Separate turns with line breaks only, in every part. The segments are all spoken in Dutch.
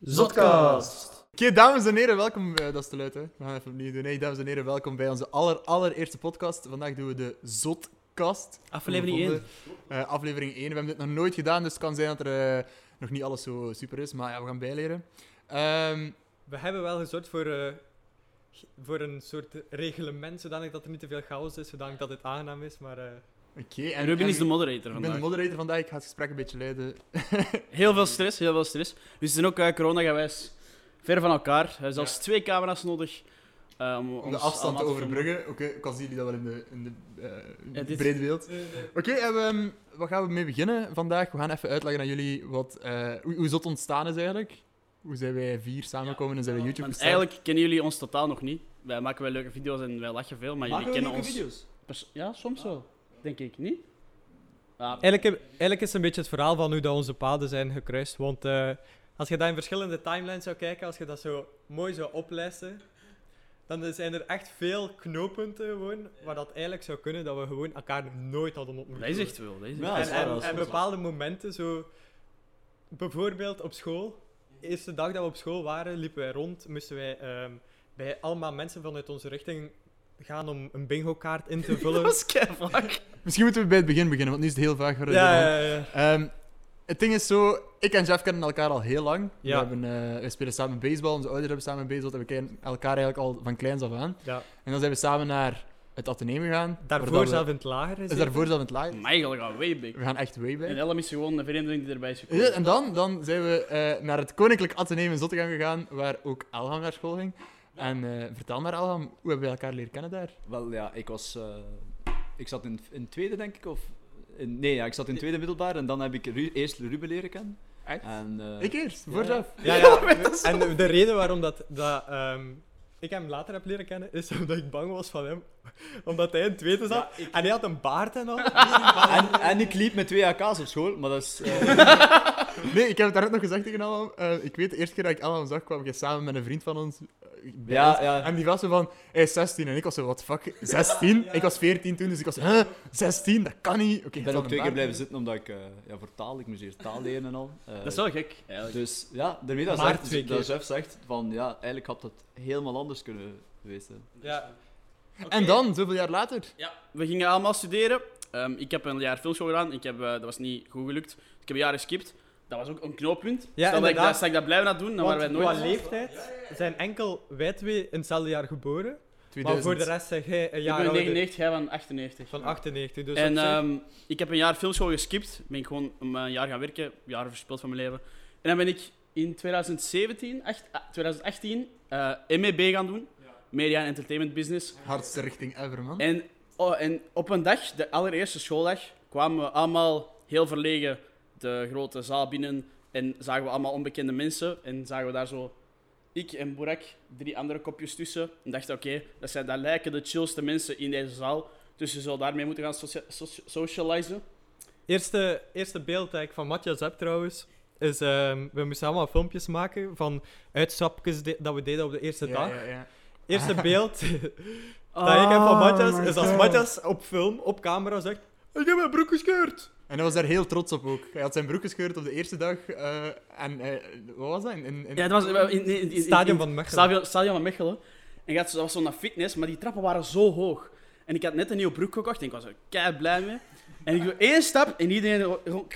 Zotcast.
Oké, dames en heren, welkom. eh, dat is te luid, hè? We gaan even opnieuw doen. Hey, dames en heren, welkom bij onze aller, allereerste podcast. Vandaag doen we de Zotkast.
Aflevering
Volgende, eh, aflevering 1. We hebben dit nog nooit gedaan, dus het kan zijn dat er eh, nog niet alles zo super is. Maar ja, we gaan bijleren. Ehm,
We hebben wel gezorgd voor, eh, voor een soort reglement, zodanig dat er niet te veel chaos is, zodanig dat het aangenaam is, maar... eh,
Oké,
En Ruben is de
ik
moderator
ben de
vandaag.
moderator vandaag. Ik ga het gesprek een beetje leiden.
Heel veel stress, heel veel stress. Dus het is ook eh, coronagewijs ver van elkaar. Er zelfs twee camera's nodig. eh, om,
Om de
ons
afstand
allemaal
te
te
overbruggen. Oké, ik kan zien jullie dat wel in de, in de eh,
Ja, dit-
brede beeld. Oké, en we, ehm, waar gaan we mee beginnen vandaag? We gaan even uitleggen aan jullie wat, eh, hoe, hoe Zot ontstaan is eigenlijk. Hoe zijn wij vier samengekomen en zijn we YouTube
Want
gestart?
Dus eigenlijk kennen jullie ons totaal nog niet. Wij maken wel leuke video's en wij lachen veel, maar jullie kennen ons.
video's?
pers- Ja, soms wel. Denk ik niet. Ah, Ja,
Eigenlijk, heb- eigenlijk is het een beetje het verhaal van hoe dat onze paden zijn gekruist, want eh, als je dat in verschillende timelines zou kijken, als je dat zo mooi zou oplijsten, dan zijn er echt veel knooppunten gewoon, waar dat eigenlijk zou kunnen dat we gewoon elkaar nooit hadden ontmoet.
dat is echt wel. Dat is echt
Ja,
wel.
dat
En,
is waar,
en,
dat is
en
waar.
bepaalde momenten, zo bijvoorbeeld op school. De eerste dag dat we op school waren, liepen wij rond, moesten wij ehm, bij allemaal mensen vanuit onze richting gaan om een bingo-kaart in te vullen.
Dat is keivlak.
Misschien moeten we bij het begin beginnen, want nu is het heel vaag. voor
ja,
iedereen.
ja, ja.
Ehm, het ding is zo, ik en Jeff kennen elkaar al heel lang.
Ja.
We, hebben, eh, we spelen samen baseball, onze ouders hebben samen baseball. En we kennen elkaar eigenlijk al van kleins af aan.
ja.
En dan zijn we samen naar het Atheneum gegaan. waar dat
Daarvoor
we-
zelf in het lager is.
Is daarvoor zelf in het laag.
Eigenlijk gaan way back.
We gaan echt way back.
En Elm is gewoon een vreemdeling die erbij is gekomen.
Ja, en dan, dan zijn we eh, naar het Koninklijk Atheneum in Zottegem gegaan, waar ook Alham naar school ging. En eh, vertel maar, Alham, hoe hebben wij elkaar leren kennen daar?
Wel ja, ik was. eh, ik zat in, in tweede, denk ik. Of, in- nee, ja, ik zat in tweede middelbaar en dan heb ik Ru- eerst Ruben leren kennen.
Echt?
En, eh,
Ik eerst, voor Jeff.
Ja, ja. En de- de reden waarom dat, dat ehm, ik hem later heb leren kennen, is omdat ik bang was van hem. Omdat hij in het tweede zat. En hij had een baard en al.
en, en ik liep met twee AK's op school, maar dat is. eh,
Nee, ik heb het daarnet nog gezegd tegen Alham. Eh, ik weet, de eerste keer dat ik Alham zag, kwam ik samen met een vriend van ons. eh, bij
Ja,
ons.
ja.
En die was zo van, hij is 16. En ik was zo, what the fuck, 16? Ik was 14 toen, dus ik was, huh, 16? Dat kan niet. Oké,
ik
het
ben
zal
ook twee
een
keer
baard
blijven zitten omdat ik. eh, ja, voor taal, ik moest eerst taal leren en al. Eh,
Dat is wel gek, eigenlijk.
Dus ja, daarmee dat,
Maar
zegt,
twee keer.
dat chef zegt van ja, eigenlijk had dat helemaal anders kunnen geweest zijn.
Ja.
zijn. En dan, zoveel jaar later.
Ja, we gingen allemaal studeren. Ehm, ik heb een jaar filmschool gedaan. Ik heb, eh, dat was niet goed gelukt. Dus ik heb een jaar geskipt. Dat was ook een knooppunt.
Ja,
Stel dat ik
inderdaad.
dat, stel ik dat blijven had doen, dan
Want
Nou, waren wij
qua
nooit...
leeftijd zijn enkel wij twee in hetzelfde jaar geboren. Maar
2000.
voor de rest zeg jij een
Ik
jaar
ben
ouder.
99, jij van 98.
Van 98, dus
en
op zich-
ehm, ik heb een jaar filmschool geskipt. Ben ik gewoon een eh, jaar gaan werken. Jaren verspild van mijn leven. En dan ben ik in 2017, acht- ah, 2018 eh, MEB gaan doen. Media en Entertainment Business.
Hardste richting ever, man.
En, oh, en op een dag, de allereerste schooldag, kwamen we allemaal heel verlegen de grote zaal binnen en zagen we allemaal onbekende mensen. En zagen we daar zo ik en Burak, drie andere kopjes tussen. En dachten, oké, dat, zijn- dat lijken de chillste mensen in deze zaal. Dus je zal daarmee moeten gaan socia- socia- socializen.
eerste, eerste beeld dat ik van Matthias heb trouwens, is ehm, we moesten allemaal filmpjes maken van uitstapjes de- dat we deden op de eerste dag.
Ja, ja, ja.
Eerste beeld dat ik heb van Matthias is als
God.
Matthias op film, op camera zegt ik heb mijn broek gescheurd.
En hij was daar heel trots op ook. Hij had zijn broek gescheurd op de eerste dag. eh, en eh, wat was dat? In, in, in-
Ja, het was in, in, in- in- in-
Stadion van Mechelen.
Stadion, stadion van Mechelen. En ik had, dat was zo'n fitness, maar die trappen waren zo hoog. En ik had net een nieuwe broek gekocht en ik was er kei blij mee. En ik doe één stap en iedereen gewoon-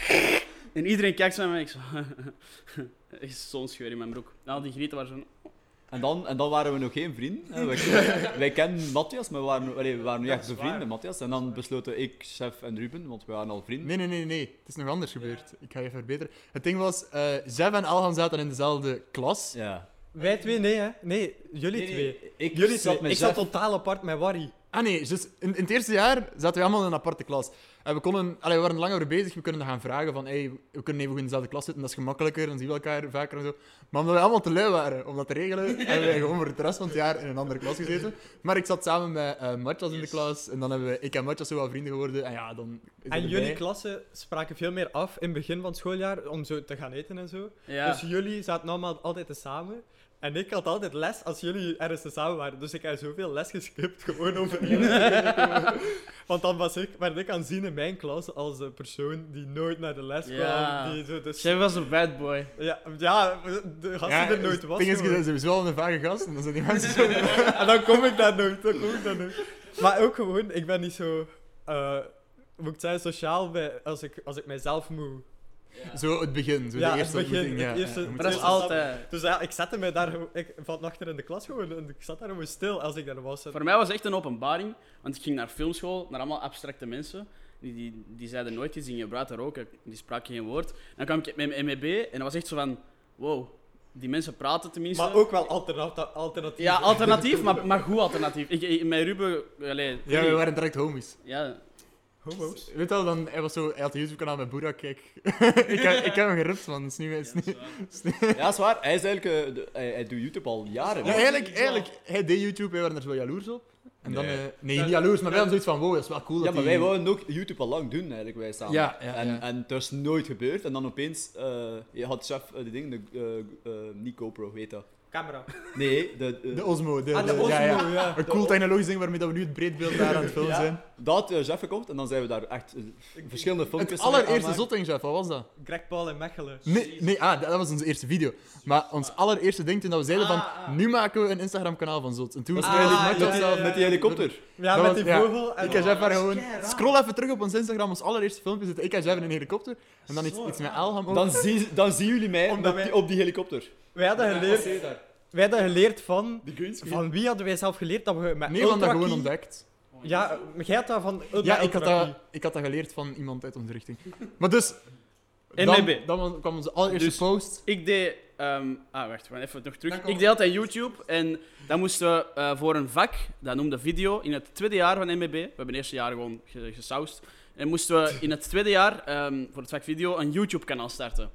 En iedereen kijkt zo naar mij en ik zo... Er is zo'n scheur in mijn broek. En al die grieten waren zo...
En dan, en dan waren we nog geen vrienden. hè. Wij, wij kennen Matthias, maar we waren, allee, we waren niet echt bevriend met Matthias. En dan besloten ik, Chef en Ruben, want we waren al vrienden.
Nee, nee, nee, nee. Het is nog anders gebeurd. Ik ga je verbeteren. Het ding was, eh Zev en Alhan zaten in dezelfde klas.
Ja.
Wij twee, nee hè. Nee, jullie
Nee, nee,
twee.
Ik
Jullie
zat
twee.
met
Ik zat
Jeff.
totaal apart met Warry.
Ah nee, dus in, in het eerste jaar zaten we allemaal in een aparte klas. En we, konden, allee, we waren lang over bezig. We kunnen dan gaan vragen van, hey, we kunnen even goed in dezelfde klas zitten. Dat is gemakkelijker, dan zien we elkaar vaker en zo. Maar omdat we allemaal te lui waren om dat te regelen, hebben wij gewoon voor het rest van het jaar in een andere klas gezeten. Maar ik zat samen met eh Matjas in de klas. En dan hebben we, ik en Matjas zo wat vrienden geworden. En ja, dan... is dat
En jullie
erbij.
klassen spraken veel meer af in het begin van het schooljaar om zo te gaan eten en zo.
Ja.
Dus jullie zaten allemaal altijd te samen. En ik had altijd les als jullie ergens te samen waren. Dus ik heb zoveel les geskipt gewoon over jullie. Want dan was ik, werd ik aanzien in mijn klas als de persoon die nooit naar de les
Ja.
kwam. Die zo de s-
Jij was een bad boy.
ja, ja, de gast die er nooit was.
Ding is, je
gewoon.
bent sowieso al een vage gast. En dan zijn die mensen zo...
en dan kom ik daar nooit, dan kom ik daar nooit. Maar ook gewoon, ik ben niet zo, eh hoe moet ik zeggen, sociaal bij, als, ik, als ik mijzelf moet.
Zo het begin. Zo
Ja,
de
het
eerste
begin,
ontmoeting,
het
ja.
eerste-
Ja, je moet
Maar dat is
zo-
altijd.
Dus ja, ik zette mij daar, gewoon- ik, van achter in de klas gewoon, en ik zat daar gewoon stil als ik daar was. En-
Voor mij was het echt een openbaring, want ik ging naar filmschool, naar allemaal abstracte mensen. Die, die, die zeiden nooit iets, die gingen praten roken, die spraken geen woord. Dan kwam ik met mijn MEB en dat was echt zo van, wow, die mensen praten tenminste.
Maar ook wel alternatief. alternatief
Ja, alternatief, maar, maar goed alternatief. Ik, ik, mijn Ruben, allee,
Ja, we waren direct homies.
ja,
Homo's.
Weet je wel, dan, hij, was zo, hij had een YouTube-kanaal met Boerak, kijk. ik, heb, ik heb hem gerupt, man. Is niet, is niet...
Ja, is waar. Hij, is eigenlijk, eh, de- hij, hij doet YouTube al jaren.
Ja, eigenlijk, eigenlijk, hij deed YouTube, wij waren er zo jaloers op. En dan, eh, nee, niet jaloers, maar wel zoiets van, wow, dat is wel cool
Ja,
dat
maar
die-
wij wouden ook YouTube al lang doen, eigenlijk, wij samen.
Ja, ja,
en,
ja.
en dat is nooit gebeurd. En dan opeens eh, je had chef eh, die ding, de, eh, eh, niet GoPro, weet dat.
Camera.
Nee, de, eh,
De Osmo. De,
Ah, de
de- ja, ja.
Osmo, ja.
Een cool technologisch ding waarmee dat we nu het breedbeeld daar aan het filmen
Ja.
zijn.
dat eh Jeff komt en dan zijn we daar echt eh, verschillende
dus
filmpjes
Het
aan
allereerste
aanmaken.
zotting, Jeff, wat was dat?
Greg Paul in Mechelen.
Nee, nee ah, dat dat was onze eerste video. Maar ons allereerste ding toen dat we zeiden van,
Ah, ah.
nu maken we een Instagram-kanaal van Zot. En toen was
Ah,
het eigenlijk
ja,
net dat
ja,
zelf
ja.
Met die helikopter.
Ja,
Dat
met
was-
die
ja.
vogel. En
Ik en Jeff waren
Oh, dat
gewoon...
is keiraar.
Scroll even terug op ons Instagram, ons allereerste filmpje zitten. Ik en Jeff in een helikopter. En dan iets,
Zo,
iets
ja.
met Elham ook.
Dan, zien, dan zien jullie mij
Omdat
op, die,
wij-
op die helikopter.
Wij hadden geleerd, wij hadden geleerd van...
Die greenscreen.
Van wie hadden wij zelf geleerd dat we met
Nee, we hadden dat
ultrakey-
gewoon ontdekt.
Ja, maar jij had dat van... met
Ja, ik had,
ultrakey.
dat, ik had dat geleerd van iemand uit onze richting. Maar dus...
En
Dan,
mijn B.
dan was- kwam onze allereerste
Dus-
post.
ik deed... ehm, ah, wacht, we gaan even nog terug.
Dan komen
Ik deed altijd YouTube en dan moesten we eh, voor een vak, dat noemde video, in het tweede jaar van MEB, we hebben het eerste jaar gewoon ge- gesausd, en moesten we in het tweede jaar ehm, voor het vak video een YouTube-kanaal starten.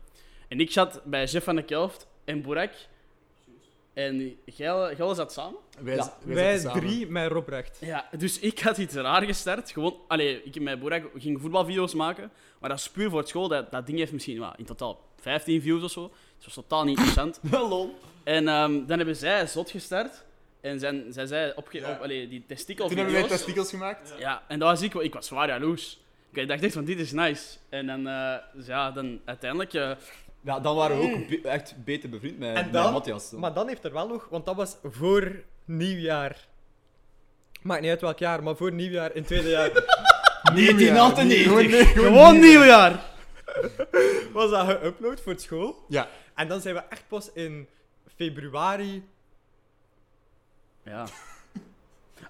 En ik zat bij Jeff van de Kelft en Boerak. En jij jij zat samen?
Wij,
Ja,
wij
Wij
zaten samen.
drie met Rob Recht.
Ja, dus ik had iets raar gestart. Gewoon, allee, ik en mijn Boerak gingen voetbalvideo's maken. Maar dat is puur voor het school. Dat, dat ding heeft misschien wat, in totaal 15 views of zo. Dus dat was totaal niet interessant.
Lol.
En ehm, dan hebben zij Zot gestart. En zijn, zij zei opge...
Ja.
op, allee, die testikel
Toen hebben wij
video's.
testikels gemaakt.
Ja, en dat was ik. wel- Ik was zwaar jaloers. Ik dacht echt van, dit is nice. En dan, eh, dus ja, dan uiteindelijk... eh,
Ja, dan waren we ook be- echt beter bevriend met,
En
met
dan-
Matthias.
Maar dan heeft er wel nog... Want dat was voor nieuwjaar. Maakt niet uit welk jaar, maar voor nieuwjaar in het tweede jaar
Gewoon- nee, gewoon-
gewoon nieuwjaar!
was dat geüpload voor school.
Ja.
En dan zijn we echt pas in februari...
Ja.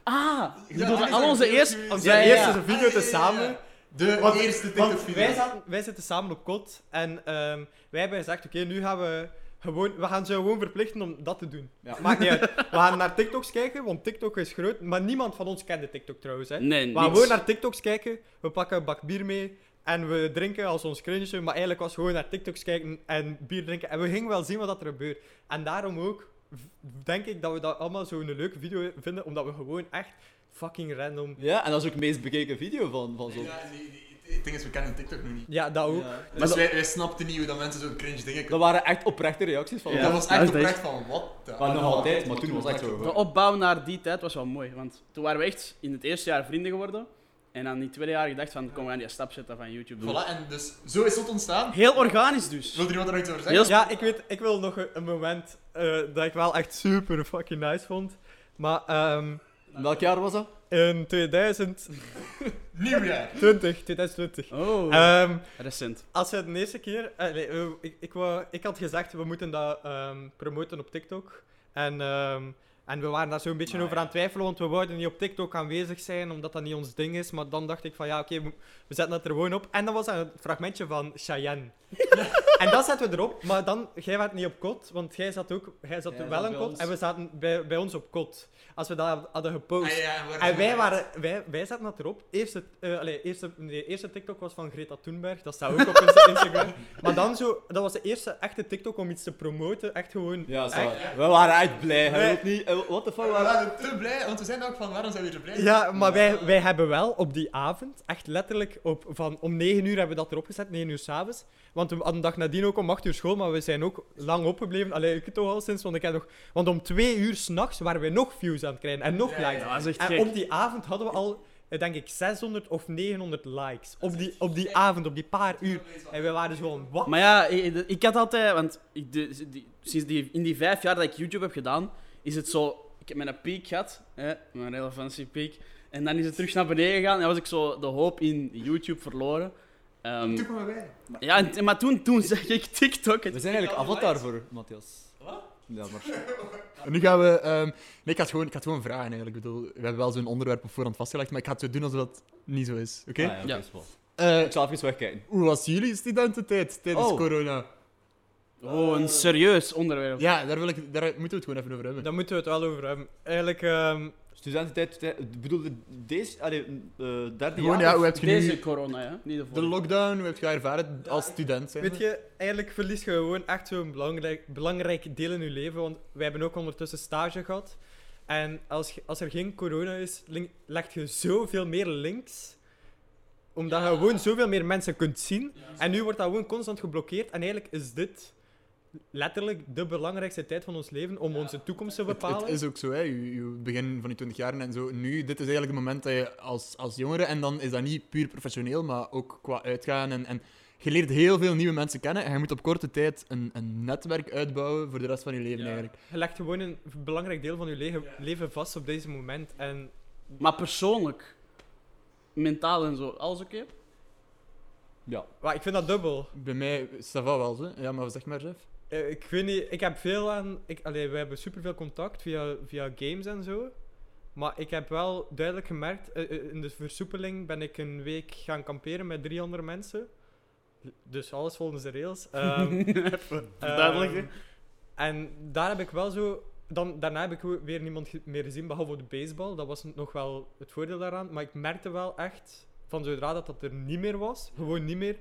Ah, ik bedoel,
dat is
al onze
een
eerste...
Onze
Ja, ja, ja.
eerste video te samen...
De
Want-
eerste
Want
TikTok-video.
wij, zaten- wij zitten samen op kot en ehm, wij hebben gezegd, oké, nu gaan we gewoon... We gaan ze gewoon verplichten om dat te doen.
Ja.
Maakt niet uit. We gaan naar TikToks kijken, want TikTok is groot. Maar niemand van ons kende TikTok trouwens, hè.
Nee,
we gaan
niets.
gewoon naar TikToks kijken, we pakken een bak bier mee en we drinken als ons cringe. Maar eigenlijk was gewoon naar TikToks kijken en bier drinken. En we gingen wel zien wat dat er gebeurt. En daarom ook v- denk ik dat we dat allemaal zo'n leuke video vinden, omdat we gewoon echt fucking random...
Ja, en dat is ook de meest bekeken video van, van zo'n...
Ja, die- die- Het ding is, we kennen TikTok nog niet.
Ja, dat ook.
Ja.
Dus wij, wij snapten niet hoe dat mensen zo'n cringe dingen
Dat
kunnen.
waren echt oprechte reacties van
Ja.
Dat was
dat
echt
is
oprecht van, wat de...
Maar nog altijd, maar toen was het echt zo.
De opbouw naar die tijd was wel mooi, want toen waren we echt in het eerste jaar vrienden geworden. En dan in het tweede jaar gedacht van, kom, we gaan die stap zetten van YouTube. doen.
Voilà, en dus zo is het ontstaan.
Heel organisch dus.
Wil er iemand er nog iets over zeggen?
Heel sp-
Ja, ik weet, ik wil nog een, een moment eh, dat ik wel echt super fucking nice vond. Maar ehm,
Welk jaar was dat?
in 2020,
Nieuwjaar.
2020.
Oh,
Eh,
ehm,
recent.
als we de eerste keer. eh, nee, eh, ik, ik, wou, ik had gezegd, we moeten dat ehm, promoten op TikTok. En, ehm, en we waren daar zo'n beetje over aan het twijfelen, want we wouden niet op TikTok aanwezig zijn, omdat dat niet ons ding is. Maar dan dacht ik van ja, oké, we, we zetten dat er gewoon op. En dan was dat een fragmentje van Cheyenne. en dat zetten we erop, maar dan, jij werd niet op kot, want jij zat ook, jij zat
Jij
wel
zat
in
bij
kot
ons.
en we zaten bij, bij ons op kot. Als we dat hadden gepost.
Ah, ja, waar-
En wij, waren, wij, wij zaten dat erop. Eerste, eh, allee, eerste, nee, eerste TikTok was van Greta Thunberg. Dat staat ook op onze Instagram. maar dan zo, dat was de eerste echte TikTok om iets te promoten. Echt gewoon.
Ja, zo.
echt-
We waren echt blij. Hij
Nee.
weet niet... eh, What the fuck?
We
waren-
waren te blij, want we zijn ook van, waarom zijn we hier zo blij?
Ja, maar wij, wij hebben wel op die avond, echt letterlijk op, van om 9 uur hebben we dat erop gezet, 9 uur s'avonds. Want we hadden de dag nadien ook om 8 uur school, maar we zijn ook lang opgebleven. Allee, ik toch al sinds, want ik heb nog... Want om 2 uur s'nachts waren we nog views aan het krijgen en nog likes.
Dat was echt
En
gek.
op die avond hadden we al eh, eh, denk ik 600 of 900 likes. Op die, op die avond, op die paar uur. En wij waren dus gewoon, wat?
Maar ja, ik, ik had altijd, want ik, de- die- sinds die, in die vijf jaar dat ik YouTube heb gedaan, is het zo, ik heb mijn piek gehad, hè, mijn relevantie-piek, en dan is het terug naar beneden gegaan en dan was ik zo de hoop in YouTube verloren. Ehm,
Toen kwamen wij.
ja, en- maar toen, toen zeg ik TikTok.
We zijn eigenlijk avatar voor, Matthias. Wat? Ja, maar...
En nu gaan we... ehm, nee, ik had, gewoon, ik had gewoon vragen eigenlijk. Ik bedoel, we hebben wel zo'n onderwerp op voorhand vastgelegd, maar ik ga het zo doen alsof dat niet zo is. Oké?
Ah, ja, oké,
Ja.
is wel.
Eh,
Ik zal even wegkijken.
hoe was jullie studententijd tijdens
Oh.
corona?
Oh, een serieus onderwerp.
Ja, daar, wil ik, daar moeten we het gewoon even over hebben.
Daar moeten we het wel over hebben. Eigenlijk, ehm,
Studententijd, eh, bedoelde deze, allee, eh, derde
Gewoon,
jaar?
ja, hoe heb je
Deze
nu
corona, hè? niet de
de
vorige.
lockdown, hoe heb je dat ervaren als student? Zijn
weet je, eigenlijk verlies je gewoon echt zo'n belangrijk, belangrijk deel in je leven. Want wij hebben ook ondertussen stage gehad. En als, je- als er geen corona is, link- legt je zoveel meer links. Omdat je gewoon zoveel meer mensen kunt zien. En nu wordt dat gewoon constant geblokkeerd. En eigenlijk is dit letterlijk de belangrijkste tijd van ons leven om onze toekomst te
Het,
bepalen.
het is ook zo, hè. Je, je begin van je 20 jaar en zo. Nu, dit is eigenlijk het moment dat je als, als jongere, en dan is dat niet puur professioneel, maar ook qua uitgaan. En, en je leert heel veel nieuwe mensen kennen en je moet op korte tijd een, een netwerk uitbouwen voor de rest van je leven
Ja.
eigenlijk.
Je legt gewoon een belangrijk deel van je le- leven vast op deze moment. En
Maar persoonlijk, mentaal en zo, alles oké?
Ja.
Wa, ik vind dat dubbel.
Bij mij, ça va wel, hè. Ja, maar zeg maar, Jeff.
Eh, ik weet niet, ik heb veel aan. Ik, allee, we hebben superveel contact via, via games en zo. Maar ik heb wel duidelijk gemerkt, eh, eh, in de versoepeling ben ik een week gaan kamperen met drie andere mensen. Dus alles volgens de rails. Ehm,
Duidelijk, hè?
Ehm, En daar heb ik wel zo. Dan, daarna heb ik we- weer niemand ge- meer gezien, behalve op de baseball. Dat was nog wel het voordeel daaraan. Maar ik merkte wel echt, van zodra dat dat er niet meer was, gewoon niet meer.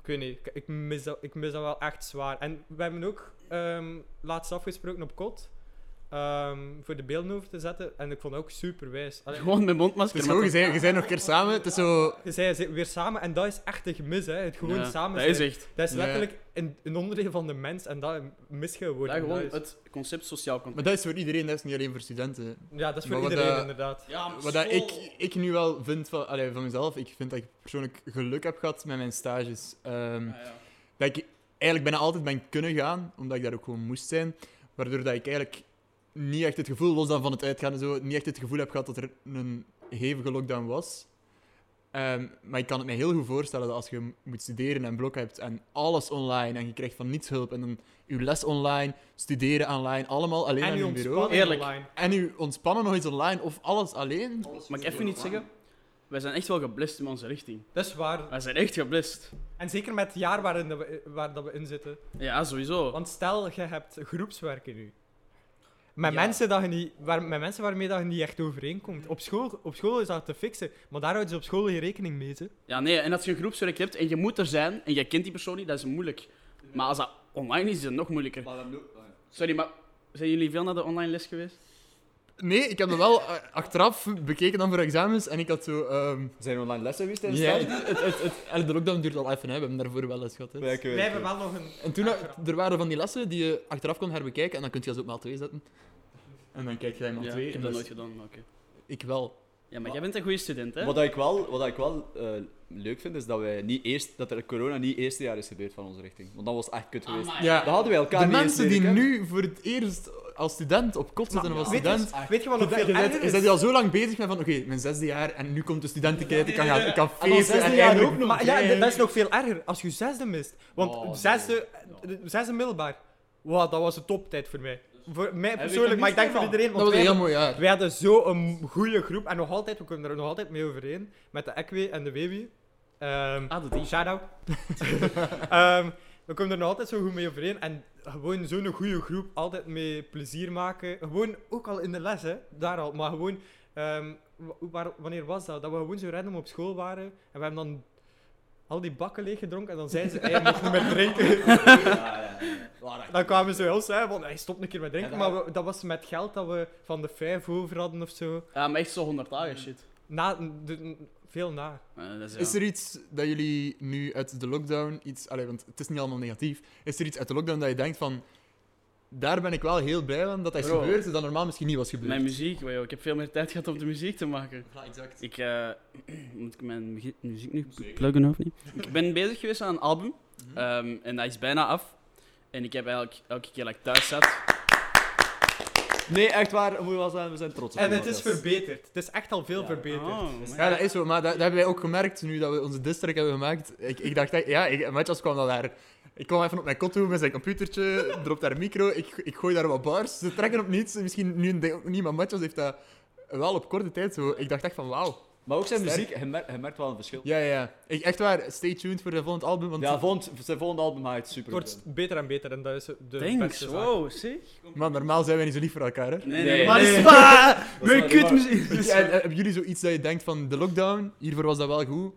Ik weet niet, ik, ik, mis, dat, ik mis dat wel echt zwaar. En we hebben ook ehm, laatst afgesproken op kot. ehm, voor de beelden over te zetten. En ik vond dat ook super wijs. Allee,
Gewoon met
Het is
mondmasker.
gewoon,
maar
je bent- je bent nog een keer samen. Het is zo...
je zei, je zit weer samen en dat is echt een gemis, hè. Het
toch-
gewoon
Ja,
samen
Dat is
zijn.
echt.
Dat is
Ja.
letterlijk een, een onderdeel van de mens en dat mis je gewoon.
Ja,
En
gewoon
dat is-
het concept sociaal contact.
Maar dat is voor iedereen, dat is niet alleen voor studenten.
Ja, dat is voor
Maar wat eh,
iedereen
dat-
inderdaad.
Wat dat ik, ik nu wel vind van, allee, van mezelf, ik vind dat ik persoonlijk geluk heb gehad met mijn stages. Ehm, dat ik eigenlijk bijna altijd ben kunnen gaan, omdat ik daar ook gewoon moest zijn. Waardoor dat ik eigenlijk niet echt het gevoel, los dan van het uitgaan en zo, niet echt het gevoel heb gehad dat er een hevige lockdown was. Ehm, maar ik kan het me heel goed voorstellen dat als je moet studeren en blok hebt en alles online en je krijgt van niets hulp en dan je les online, studeren online, allemaal alleen aan
En je
je bureau.
ontspannen
Eerlijk.
online.
En je ontspannen nog eens online of alles alleen.
Mag ik even iets zeggen? Wij zijn echt wel geblest in onze richting.
Dat is waar.
Wij zijn echt geblest.
En zeker met het jaar waarin dat we, waar dat we in zitten.
Ja, sowieso.
Want stel, je hebt groepswerken nu. Met,
Ja.
mensen, dat je niet, waar, met mensen waarmee dat je niet echt overeenkomt. Op school, op school is dat te fixen, maar daar houden ze op school geen rekening mee. Ze.
Ja, nee, en als je een groepswerk hebt en je moet er zijn en je kent die persoon niet, dat is moeilijk. Maar als dat online is, is het nog moeilijker.
Maar dan ook...
Sorry, maar zijn jullie veel naar de online les geweest?
Nee, ik heb dat wel eh, achteraf bekeken dan voor examens en ik had zo... ehm,
Zijn er online lessen geweest tijdens
Ja,
stage?
het, het, het, het- en de lockdown duurt al even, hè. we hebben daarvoor wel eens gehad. Hè.
Ja, ik weet
Wij
het.
hebben wel nog een...
En toen, eh, er waren van die lessen die je achteraf kon herbekijken en dan kun je ze op maal 2 zetten. En dan kijk je dat in maal
ja,
2.
ik heb
en dus-
dat
dat is-
nooit gedaan, maar oké.
Ik wel.
Ja, maar jij bent een goede student, hè?
Wat ik wel, wat ik wel eh, leuk vind, is dat, wij niet eerst, dat er corona niet eerste jaar is gebeurd van onze richting. Want dat was echt kut geweest.
Amai.
Ja,
Dat hadden wij elkaar
de
niet eens
mensen die
leren kennen.
nu voor het eerst als student op kot zitten of als
weet,
student...
je, weet je wat
Je
nog veel
bent-
erger
je
is?
bent al zo lang bezig met van, oké, mijn zesde jaar en nu komt de studentenkijd, ik kan gaan, ik kan
En dan
feesten
zesde
en
jaar
eindelijk-
ook nog.
Maar ja, dat is nog veel erger als je zesde mist. Want
Oh, nee.
zesde, zesde middelbaar, wow, dat was de toptijd voor mij.
Dus-
Voor mij
weet
persoonlijk,
er
maar ik denk
niets
voor
van.
iedereen.
Dat
Want
was een
wij
heel mooi jaar.
We hadden zo'n goede groep en nog altijd, we komen er nog altijd mee overeen. Met de Equi en de Baby. Ehm
Ah, de die.
Shout-out. Ehm, we komen er nog altijd zo goed mee overeen. En gewoon zo'n goede groep, altijd mee plezier maken. Gewoon ook al in de les, hè, daar al. Maar gewoon, ehm, wa- waar, wanneer was dat? Dat we gewoon zo random op school waren en we hebben dan al die bakken leeggedronken en dan zeiden ze, hij mocht niet meer drinken. Dan kwamen ze wel zeggen van, hey, stop een keer met drinken.
Ja, dat-
Maar we- dat was met geld dat we van de vijf over hadden of zo.
Ja, maar echt zo 100 dagen shit.
Na, de- veel na.
Eh, dat is, ja.
Is er iets dat jullie nu uit de lockdown iets. Allee, want het is niet allemaal negatief. Is er iets uit de lockdown dat je denkt van. daar ben ik wel heel blij van dat dat is
Bro.
gebeurd, dat normaal misschien niet was gebeurd.
Mijn muziek, wow, ik heb veel meer tijd gehad om de muziek te maken.
Ja, exact.
Ik, eh, moet ik mijn muzie- muziek nu pluggen of niet? Ik ben bezig geweest aan een album
Mhm.
ehm, en dat is bijna af. En ik heb eigenlijk elke keer dat ik thuis zat.
Nee, echt waar, moet je wel zijn, we zijn trots op
En
je,
het is
Matthias.
verbeterd. Het is echt al veel
Ja.
verbeterd.
Oh, my
Ja, dat is zo, maar dat, dat hebben wij ook gemerkt nu dat we onze district hebben gemaakt. Ik, ik dacht, echt- ja, ik, Matthias kwam dan daar. Ik kwam even op mijn kot toe met zijn computertje, dropt daar een micro, ik, ik gooi daar wat bars, ze trekken op niets. Misschien nu een ding ook niet, maar Matthias heeft dat wel op korte tijd zo. Ik dacht echt van wauw.
Maar ook zijn
Sterk.
muziek, je merkt, je merkt wel een verschil.
Ja, ja, ja. Ik, echt waar, stay tuned voor zijn volgend album. Want
Ja, volgend, zijn volgende album haalt super.
Het wordt beter en beter en dat is de
Thanks,
beste zaak.
wow, zie.
Maar normaal zijn wij niet zo lief voor elkaar, hè?
Nee,
Nee.
Maar
Nee.
spa!
Dat is
Mijn
wel
kutmuziek!
Ja, en, eh, hebben jullie zoiets dat je denkt van de lockdown, hiervoor was dat wel goed?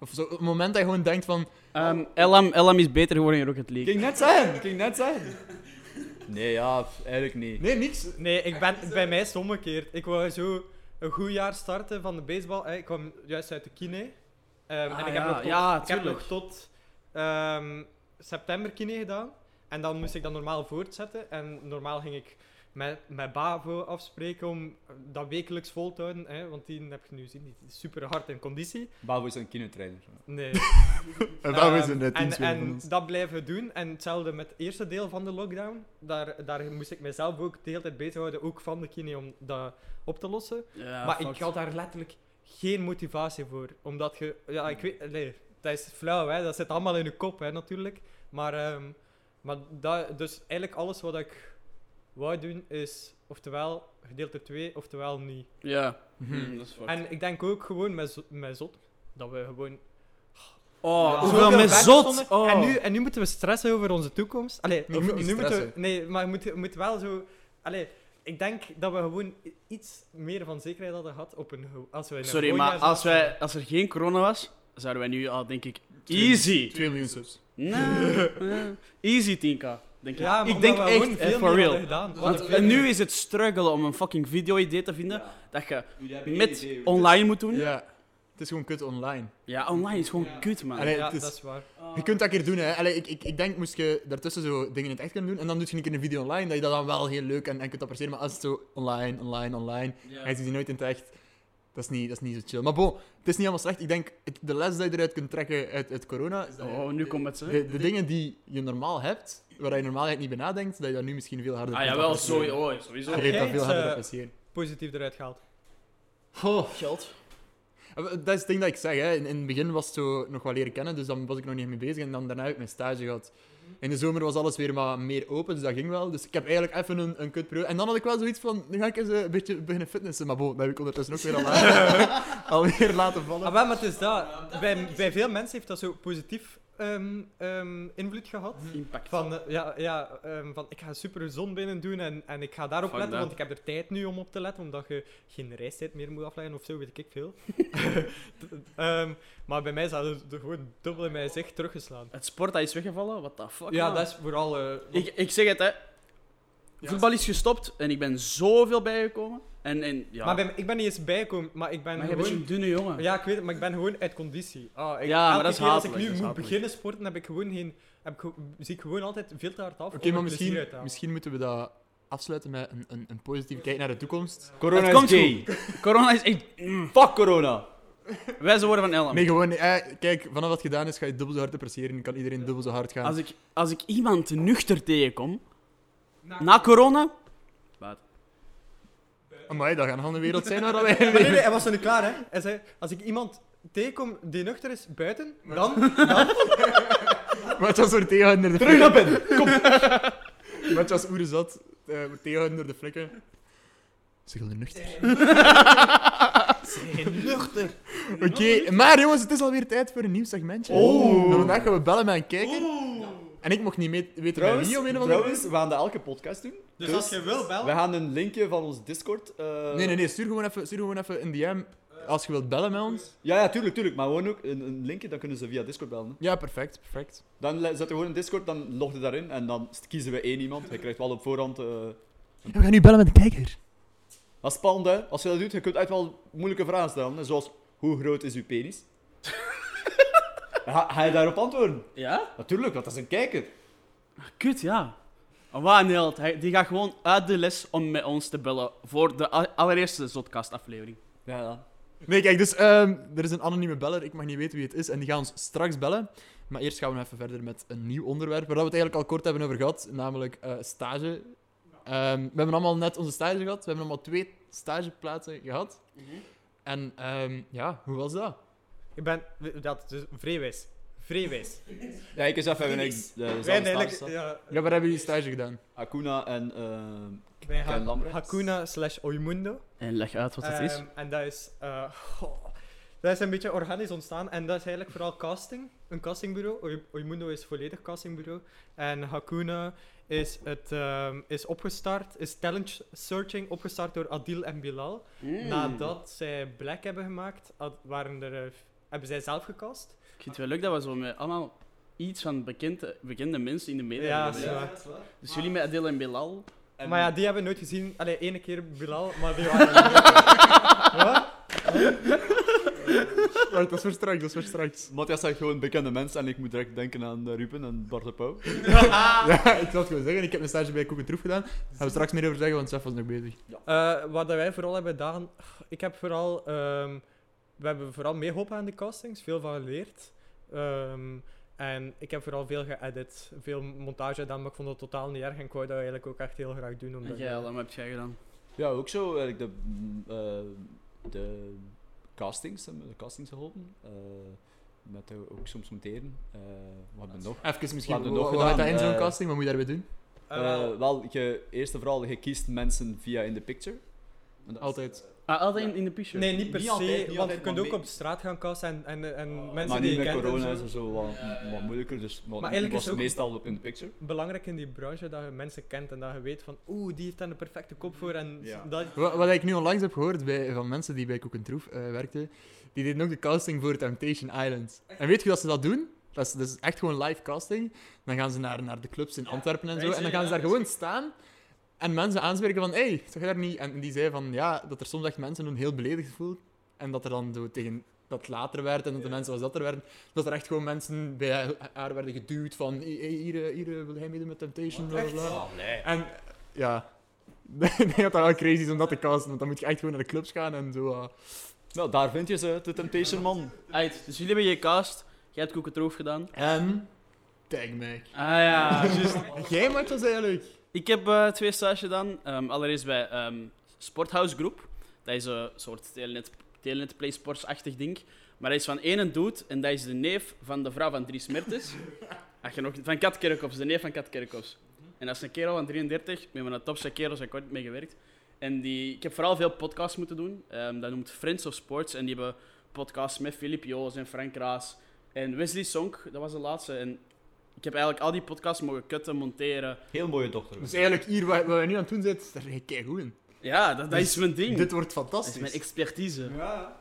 Of zo, het moment dat je gewoon denkt van,
Ehm, LM, LM is beter geworden in Rocket
Ik
League.
ging net zijn, ging net zijn. Nee, ja, pff, eigenlijk niet.
nee, niks.
Nee, ik ben, bij mij is het omgekeerd. Ik wou zo een goed jaar starten van de baseball. hè. Ik kwam juist uit de kine. Ehm,
Ah,
en ik
ja,
heb nog tot,
ja,
ik heb
tuurlijk.
nog tot ehm, september kine gedaan. En dan moest ik dat normaal voortzetten. En normaal ging ik met, met Bavo afspreken om dat wekelijks vol te houden. Hè, want die heb je nu zien, die is super hard in conditie.
Bavo is een kinotrainer.
Nee.
En waarom is
Ehm,
een
en,
teamspeler van
en
ons?
dat blijven we doen. En hetzelfde met het eerste deel van de lockdown. Daar, daar moest ik mezelf ook de hele tijd bezighouden, ook van de kine, om dat op te lossen.
Ja,
maar
fuck.
ik had daar letterlijk geen motivatie voor. Omdat je... Ja, ik weet... Nee, dat is flauw, hè. Dat zit allemaal in je kop, hè, natuurlijk. Maar, ehm, maar dat, dus eigenlijk alles wat ik wou doen is oftewel gedeelte 2, oftewel niet.
Ja,
Mhm.
Mm, dat is fucked.
En ik denk ook gewoon met, zo- met zot, dat we gewoon
Oh,
Ja.
hoeveel met
werk
zot!
stonden.
Oh.
En, nu, en nu moeten we stressen over onze toekomst. Allee,
Je
of
moet niet
nu moeten we,
stressen.
nee, maar je moet, je moet wel zo. Allee, ik denk dat we gewoon i- iets meer van zekerheid hadden gehad op een, ho- als we in een
Sorry,
voorjaar
maar
zaten.
als, wij, als er geen corona was, zouden wij nu al, denk ik, easy.
2 miljoen subs.
Nee, nee. easy 10k, denk ik.
Ja, maar
ik denk
omdat we
echt,
gewoon
eh,
veel
for
meer
real.
hadden gedaan. We
Want
hadden veel
nu
meer-
is het struggelen om een fucking video-idee te vinden dat je
Jullie hebben geen
met
idee hoe het is.
online moet doen. Ja,
Ja. Het is gewoon kut online.
online is gewoon kut, man.
Allee,
Ja,
het is-
dat is waar.
Je kunt dat een keer doen, hè. Allee, ik, ik, ik denk, moest je daartussen zo dingen in het echt kunnen doen, en dan doe je een keer een video online, dat je dat dan wel heel leuk en, en kunt appreciëren, maar als het zo online, online, online,
Ja.
hij ziet die nooit in het echt, dat is niet, dat is niet zo chill. Maar bon, het is niet allemaal slecht. Ik denk, het- de les die je eruit kunt trekken uit, uit corona, is dat je-
Oh, nu komt het, hè.
de, de dingen die je normaal hebt, waar je normaal eigenlijk niet bij nadenkt, dat je daar nu misschien veel harder
Ah,
kunt
jawel,
appreciëren.
sowieso. Oh, sowieso.
Je leert dat veel harder
Eh,
appreciëren.
Positief eruit gehaald.
Geld.
Eh, Dat is het ding dat ik zeg. Hè. In, in het begin was het zo nog wel leren kennen, dus dan was ik nog niet mee bezig. En dan, daarna heb ik mijn stage gehad. In de zomer was alles weer maar meer open, dus dat ging wel. Dus ik heb eigenlijk even een, een kutperiode. En dan had ik wel zoiets van, nu ga ik eens eh, een beetje beginnen fitnessen. Maar bo, dat heb ik ondertussen ook weer al eh, alweer laten vallen.
Ah, wel, maar het is dat. Bij, bij veel mensen heeft dat zo positief ehm, ehm, invloed gehad.
Impact.
Van, eh, ja, ja ehm, van ik ga super gezond binnen doen en, en ik ga daarop
Fuck
letten,
that.
want ik heb er tijd nu om op te letten, omdat je geen reistijd meer moet afleggen of zo, weet ik veel. Ehm, maar bij mij is dat dus de- gewoon dubbel in mijn gezicht teruggeslaan.
Het sport, dat is weggevallen. What the fuck,
Ja,
man?
dat is vooral. eh,
Ik, ik zeg het, hè. Voetbal is gestopt en ik ben zoveel bijgekomen. En, en ja...
Maar bij mij- ik ben niet eens bijgekomen, maar ik ben
Maar je bent
gewoon.
zo'n dunne jongen.
Ja, ik weet het, maar ik ben gewoon uit conditie. Ah, ik,
Ja, maar
elke
dat is
keer als ik
hatelijk,
nu
dat
moet
is hatelijk.
beginnen sporten, heb ik gewoon geen, heb ik, ge- zie ik gewoon altijd veel te hard af.
Oké,
om er
maar
plezier
misschien,
uit te halen.
misschien moeten we dat afsluiten met een, een, een positieve kijk naar de toekomst.
Corona
Het komt
is gay.
Corona is echt... Mm.
Fuck corona.
Wij zijn woorden van Elm.
Nee, gewoon, eh, kijk, vanaf wat gedaan is, ga je dubbel zo hard appreciëren. Kan iedereen dubbel zo hard gaan.
Als ik, als ik iemand nuchter tegenkom, na corona...
Amai, dat gaan een andere wereld zijn waar dat wij...
Maar nee, nee, hij was er niet klaar, hè. Hij zei, als ik iemand tegenkom die nuchter is, buiten, dan...
Wat was voor tegenhouden naar de
Terug naar binnen.
Wat was oeren zat, eh, wordt tegenhouden door de flikken. Ze gaan er nuchter.
nuchter.
Oké, maar jongens, het is alweer tijd voor een nieuw segmentje. Oh. Vandaag gaan we bellen met een kijker. En ik mocht niet mee- weten
Trouwens,
bij wie om een of andere
trouwens, we gaan dat elke podcast doen.
Dus als je wil
We
bellen...
gaan een linkje van ons Discord. eh,
reden. Nee, nee, nee, stuur gewoon even, stuur gewoon even een DM als je wilt bellen met ons.
Ja, ja, tuurlijk, tuurlijk. Maar gewoon ook een, een linkje, dan kunnen ze via Discord bellen. hè.
Ja, perfect, perfect.
Dan le- zetten we gewoon een Discord, dan log je daarin en dan st- kiezen we één iemand. Je krijgt wel op voorhand. eh
En we gaan nu bellen met een kijker.
Dat is spannend, hè? Als je dat doet, je kunt echt wel moeilijke vragen stellen. hè. Zoals: hoe groot is uw penis? ga, ga je daarop antwoorden?
Ja?
Natuurlijk, want dat is een kijker.
Kut, ja. Ah, Een waanheld. Hij- Die gaat gewoon uit de les om met ons te bellen voor de a- allereerste Zotkast-aflevering.
Ja, ja.
Nee, kijk, dus ehm, er is een anonieme beller. Ik mag niet weten wie het is. En die gaan ons straks bellen. Maar eerst gaan we nog even verder met een nieuw onderwerp. Waar we het eigenlijk al kort hebben over gehad. Namelijk eh, stage. Ehm, we hebben allemaal net onze stage gehad. We hebben allemaal twee stageplaatsen gehad. En ehm, ja, hoe was dat?
Ik ben... Dat dus is vreewijs. Vreewijs.
ja, ik is even in
Phoenix.
de
Wij
dezelfde
hebben
stage
eigenlijk...
staan.
Ja,
Ja, waar hebben jullie stage gedaan?
Acuna en... ehm,
wij
Ken
gaan
Lambrechts.
Hakuna slash Oimundo.
En leg uit wat het is.
Ehm, en dat is... eh, goh, dat is een beetje organisch ontstaan. En dat is eigenlijk vooral casting. Een castingbureau. Oi- Oimundo is volledig castingbureau. En Hakuna is, het, ehm, is opgestart. Is talent searching opgestart door Adil en Bilal.
Hmm.
Nadat zij Black hebben gemaakt, had- waren er, eh, hebben zij zelf gecast.
Ik vind het wel leuk dat we zo met allemaal iets van bekende, bekende mensen in de media
Ja,
hebben.
zo. waar.
Dus jullie met Adil en Bilal.
en-
Maar ja, die hebben we nooit gezien. Allee, ene keer Bilal, maar die waren er niet. Wat?
Wacht, dat is voor straks, dat is voor straks.
Matthias zijn gewoon bekende mensen en ik moet direct denken aan eh, Ruben en Bart de Pauw.
Ja, ik zal het gewoon zeggen. Ik heb mijn stage bij Koek en Troef gedaan. Daar gaan we straks meer over zeggen, want Chef was nog bezig.
Eh, wat dat wij vooral hebben gedaan... Ik heb vooral... ehm, we hebben vooral meegeholpen aan de castings. Veel van geleerd. Ehm, en ik heb vooral veel geëdit. Veel montage gedaan, maar ik vond het totaal niet erg. En ik wou dat eigenlijk ook echt heel graag doen.
En
Omdat
jij, Alan, wat heb jij gedaan?
Ja, ook zo. Eigenlijk de, mm, eh, de castings hebben de castings geholpen. Eh, met de- ook soms monteren. Eh, wat hebben we nog?
Even
Wat
misschien,
hebben we nog
hoe gaat dat in
gedaan?
zo'n
Eh,
casting? Wat moet je daarbij doen?
Eh,
Eh, wel, je, eerst en vooral, je kiest mensen via in the picture. En dat-
Altijd.
Ah, altijd in, in de picture.
nee, niet per
niet
se.
altijd, niet
want
altijd,
je kunt
maar
ook
mee-
op straat gaan casten en, en, en mensen
Maar nu
die je
met
kent en
corona
zo.
is het zo wat, wat moeilijker, dus maar
eigenlijk
was
is het ook-
meestal op in the picture.
belangrijk in die branche dat je mensen kent en dat je weet van oeh, die heeft daar de perfecte kop voor en
Ja.
dat...
Wat, wat ik nu onlangs heb gehoord bij, van mensen die bij Cook and Troef eh, werkten, die deden ook de casting voor Temptation Island. En weet je hoe dat ze dat doen? Dat is, dat is echt gewoon live casting. Dan gaan ze naar, naar de clubs in Antwerpen en zo. En dan gaan ze daar gewoon staan en mensen aanspreken van, hé, hey, zag je daar niet? En die zei van, ja, dat er soms echt mensen doen heel beledigd voelen. En dat er dan zo tegen dat later werd en dat de mensen als dat er werden, dat er echt gewoon mensen bij haar werden geduwd van, "Hey, hey, hier, eh, hier eh, wil jij meedoen met Temptation? Bla, bla, bla.
Oh,
En ja, ik denk dat dat wel crazy is om dat te casten, want dan moet je echt gewoon naar de clubs gaan en zo. eh.
Nou, daar vind je ze, de Temptation Man.
Uit, dus jullie hebben je cast. Jij hebt koekentroof gedaan.
En tag mij.
Ah ja, juist.
Jij maakt dat eigenlijk.
Ik heb eh, twee stages gedaan. Ehm, allereerst bij ehm Sporthouse Groep. Dat is een soort telenet, telenet Play Sports-achtig ding. Maar dat is van één dude en dat is de neef van de vrouw van Dries Mertens. Ach, je nog, van Kat Kerkhoffs, de neef van Kat Kerkhoffs. En dat is een kerel van 33, met mijn topste kerels heb ik ooit mee gewerkt. En die, ik heb vooral veel podcasts moeten doen. Ehm, dat noemt Friends of Sports. En die hebben podcasts met Filip Joos en Frank Raas. En Wesley Sonk, dat was de laatste. En ik heb eigenlijk al die podcasts mogen kutten, monteren.
Heel mooie dochter.
Dus eigenlijk hier, wat, wat we nu aan het doen zijn, daar ben je keigoed in.
Ja, dat, dat
Dus
is mijn ding.
Dit wordt
dat is
fantastisch.
mijn expertise.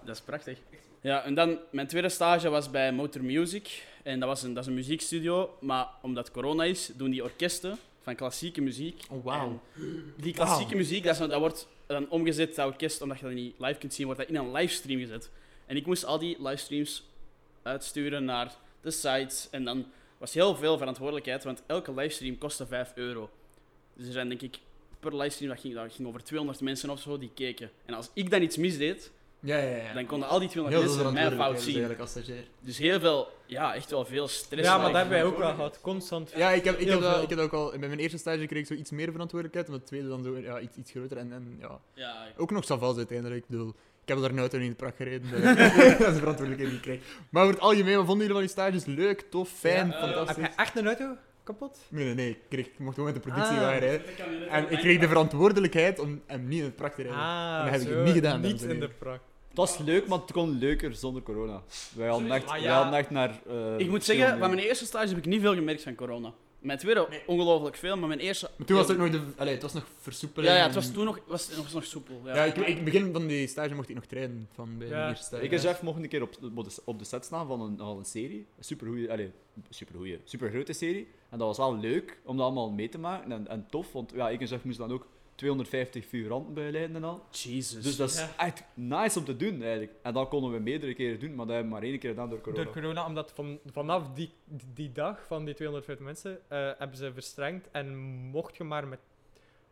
Dat is prachtig. Ja, en dan mijn tweede stage was bij Motor Music. En dat, was een, dat is een muziekstudio. Maar omdat corona is, doen die orkesten van klassieke muziek.
Oh, wauw.
En Die klassieke muziek, dat, is, dat wordt dan omgezet, dat orkest, omdat je dat niet live kunt zien, wordt dat in een livestream gezet. En ik moest al die livestreams uitsturen naar de sites. En dan was heel veel verantwoordelijkheid, want elke livestream kostte 5 euro. Dus er zijn denk ik per livestream, dat ging, dat ging over 200 mensen of zo, die keken. En als ik dan iets misdeed,
Ja, ja, ja.
dan konden al die
Heel
200
veel
mensen mijn fout
verantwoordelijkheid
zien.
eigenlijk als stagiair.
Dus heel veel, ja, echt wel veel stress. waar
ja, maar
ik-
dat hebben wij ook wel gehad, constant.
Ja, ik heb, ik,
Heel
heb, dat-
veel.
ik heb dat ook al... Bij mijn eerste stage kreeg ik zo iets meer verantwoordelijkheid, en bij het tweede dan zo ja, iets, iets groter. En, en ja,
Ja, ik-
Ook nog Savas uiteindelijk. Ik bedoel, ik heb daar nooit in de prak gereden. dus dat is de verantwoordelijkheid die ik krijg. Maar over het algemeen, wat vonden jullie van die stages? Leuk, tof, fijn,
Ja. Heb
fantastisch.
jij echt een auto kapot?
Nee, nee, nee. Ik, kreeg, ik mocht gewoon met de productie
Ah.
gaan rijden. En ik kreeg de verantwoordelijkheid om hem niet in de prak te rijden.
Ah,
dat heb ik
zo,
niet gedaan,
Niet
dames en
in de
heren.
prak.
Het was leuk, maar het kon leuker zonder corona. Wij hadden echt,
Ah, ja.
wij hadden echt naar... eh,
Ik moet
verschillende-
zeggen, van mijn eerste stage heb ik niet veel gemerkt van corona. Mijn tweede ongelooflijk veel, maar mijn eerste...
Maar toen was het ook nog de... Allee, het was nog versoepeling.
Ja, ja, het
en-
was toen nog, was, was nog soepel. Ja.
Ja, ik, ik begin van die stage mocht ik nog trainen, van bij mijn
Ja.
eerste stage.
Ik en Jeff mochten een keer op, op, de, op de set staan van een, van een serie. Een supergoeie, allee, supergoeie, supergrote serie. En dat was wel leuk om dat allemaal mee te maken en, en tof. Want ja, ik en Jeff moesten dan ook 250 figuranten begeleiden en al.
Jesus.
Dus dat is
Ja.
echt nice om te doen eigenlijk. En dat konden we meerdere keren doen, maar dat hebben we maar één keer gedaan door corona.
Door corona, omdat van, vanaf die, die, die dag van die 250 mensen eh, hebben ze verstrengd en mocht je maar met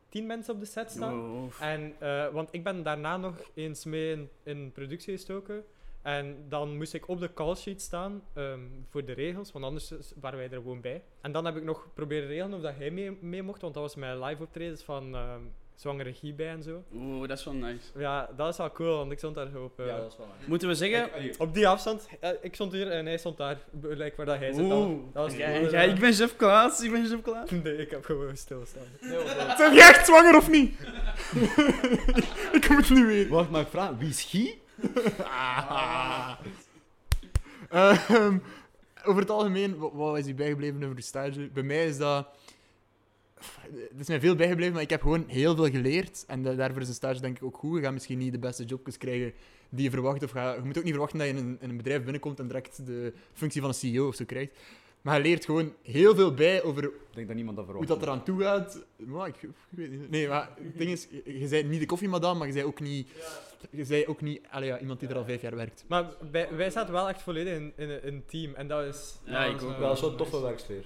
10 mensen op de set staan.
Oh.
En, eh, want ik ben daarna nog eens mee in, in productie gestoken. En dan moest ik op de callsheet staan ehm, voor de regels, want anders is- waren wij er gewoon bij. En dan heb ik nog proberen regelen of dat hij mee, mee mocht, want dat was mijn live optredens van ehm zwangere regie bij en zo.
Oeh, dat is wel nice.
Ja, dat is wel cool, want ik stond daar zo op, eh,
Ja, dat is wel nice.
Moeten we zeggen...
Kijk, allee,
op die afstand. Eh, ik stond hier en hij stond daar, gelijk waar dat hij zit. dan.
Oeh.
Dat was
Ja,
cool,
ja,
ja.
ik ben Jeff Klaas, ik ben Jeff Klaas.
Nee, ik heb gewoon stilstaan.
nee, want, eh,
Zijn jij echt zwanger of niet? ik moet het niet weten.
Wacht, maar ik vraag, wie is Guy?
Ah. Ehm, over het algemeen, wa- wat is u bijgebleven over de stage? Bij mij is dat. Het is mij veel bijgebleven, maar ik heb gewoon heel veel geleerd. En da- daarvoor is een stage denk ik ook goed. Je gaat misschien niet de beste jobjes krijgen die je verwacht. Of ga, je moet ook niet verwachten dat je in een, in een bedrijf binnenkomt en direct de functie van een CEO of zo krijgt. Maar je leert gewoon heel veel bij over
Ik denk dat niemand dat
hoe
verwacht.
dat eraan toe gaat. Maar ik, ik weet niet. Nee, maar het ding is, je je bent niet de koffiemadam, maar je bent ook niet, je bent ook niet allee, ja, iemand die er al vijf jaar werkt.
Maar wij, wij zaten wel echt volledig in, in, een- in een team en dat is.
Ja,
dat
ik
is
ook.
wel-
Dat is wel een toffe werksfeer.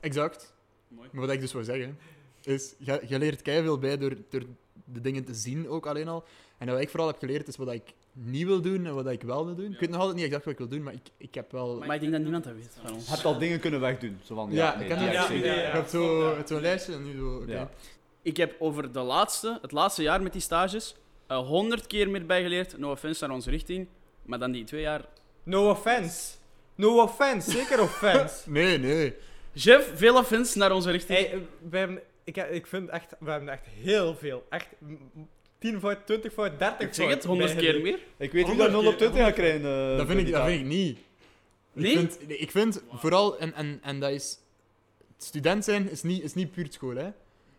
Exact.
Mooi.
Maar wat ik dus wil zeggen, is, je, je leert keihard bij door, door de dingen te zien ook alleen al. En wat ik vooral heb geleerd, is wat ik niet wil doen en wat ik wel wil doen. Ik weet nog altijd niet exact wat ik wil doen, maar ik, ik heb wel...
Maar ik denk dat niemand dat weet van ons.
Je hebt al dingen kunnen wegdoen. Zo van,
ja,
ja, nee,
ik heb
die
dat
ja,
heb ik
gezien.
zeker.
ja.
Ik heb zo- zo'n lijstje en nu zo... oké.
Ja.
Ik heb over de laatste, het laatste jaar met die stages eh, honderd keer meer bijgeleerd. No offense naar onze richting. Maar dan die twee jaar.
No offense. No offense, zeker offense.
Nee, nee.
Jeff, veel offense naar onze richting.
hey, eh, we hebben, ik, heb- ik vind echt, we hebben echt heel veel. Echt m- m- 10 voor, 20 voor, 30
ik zeg het,
voor
honderd keer
bijgeleerd.
meer.
Ik weet niet dat 0 op 20 gaat krijgen. eh,
Dat vind ik,
voor
dat
die
vind ik niet.
Nee?
Ik vind, nee, ik vind vooral, en, en, en dat is... Student zijn is niet, is niet puur het school, hè.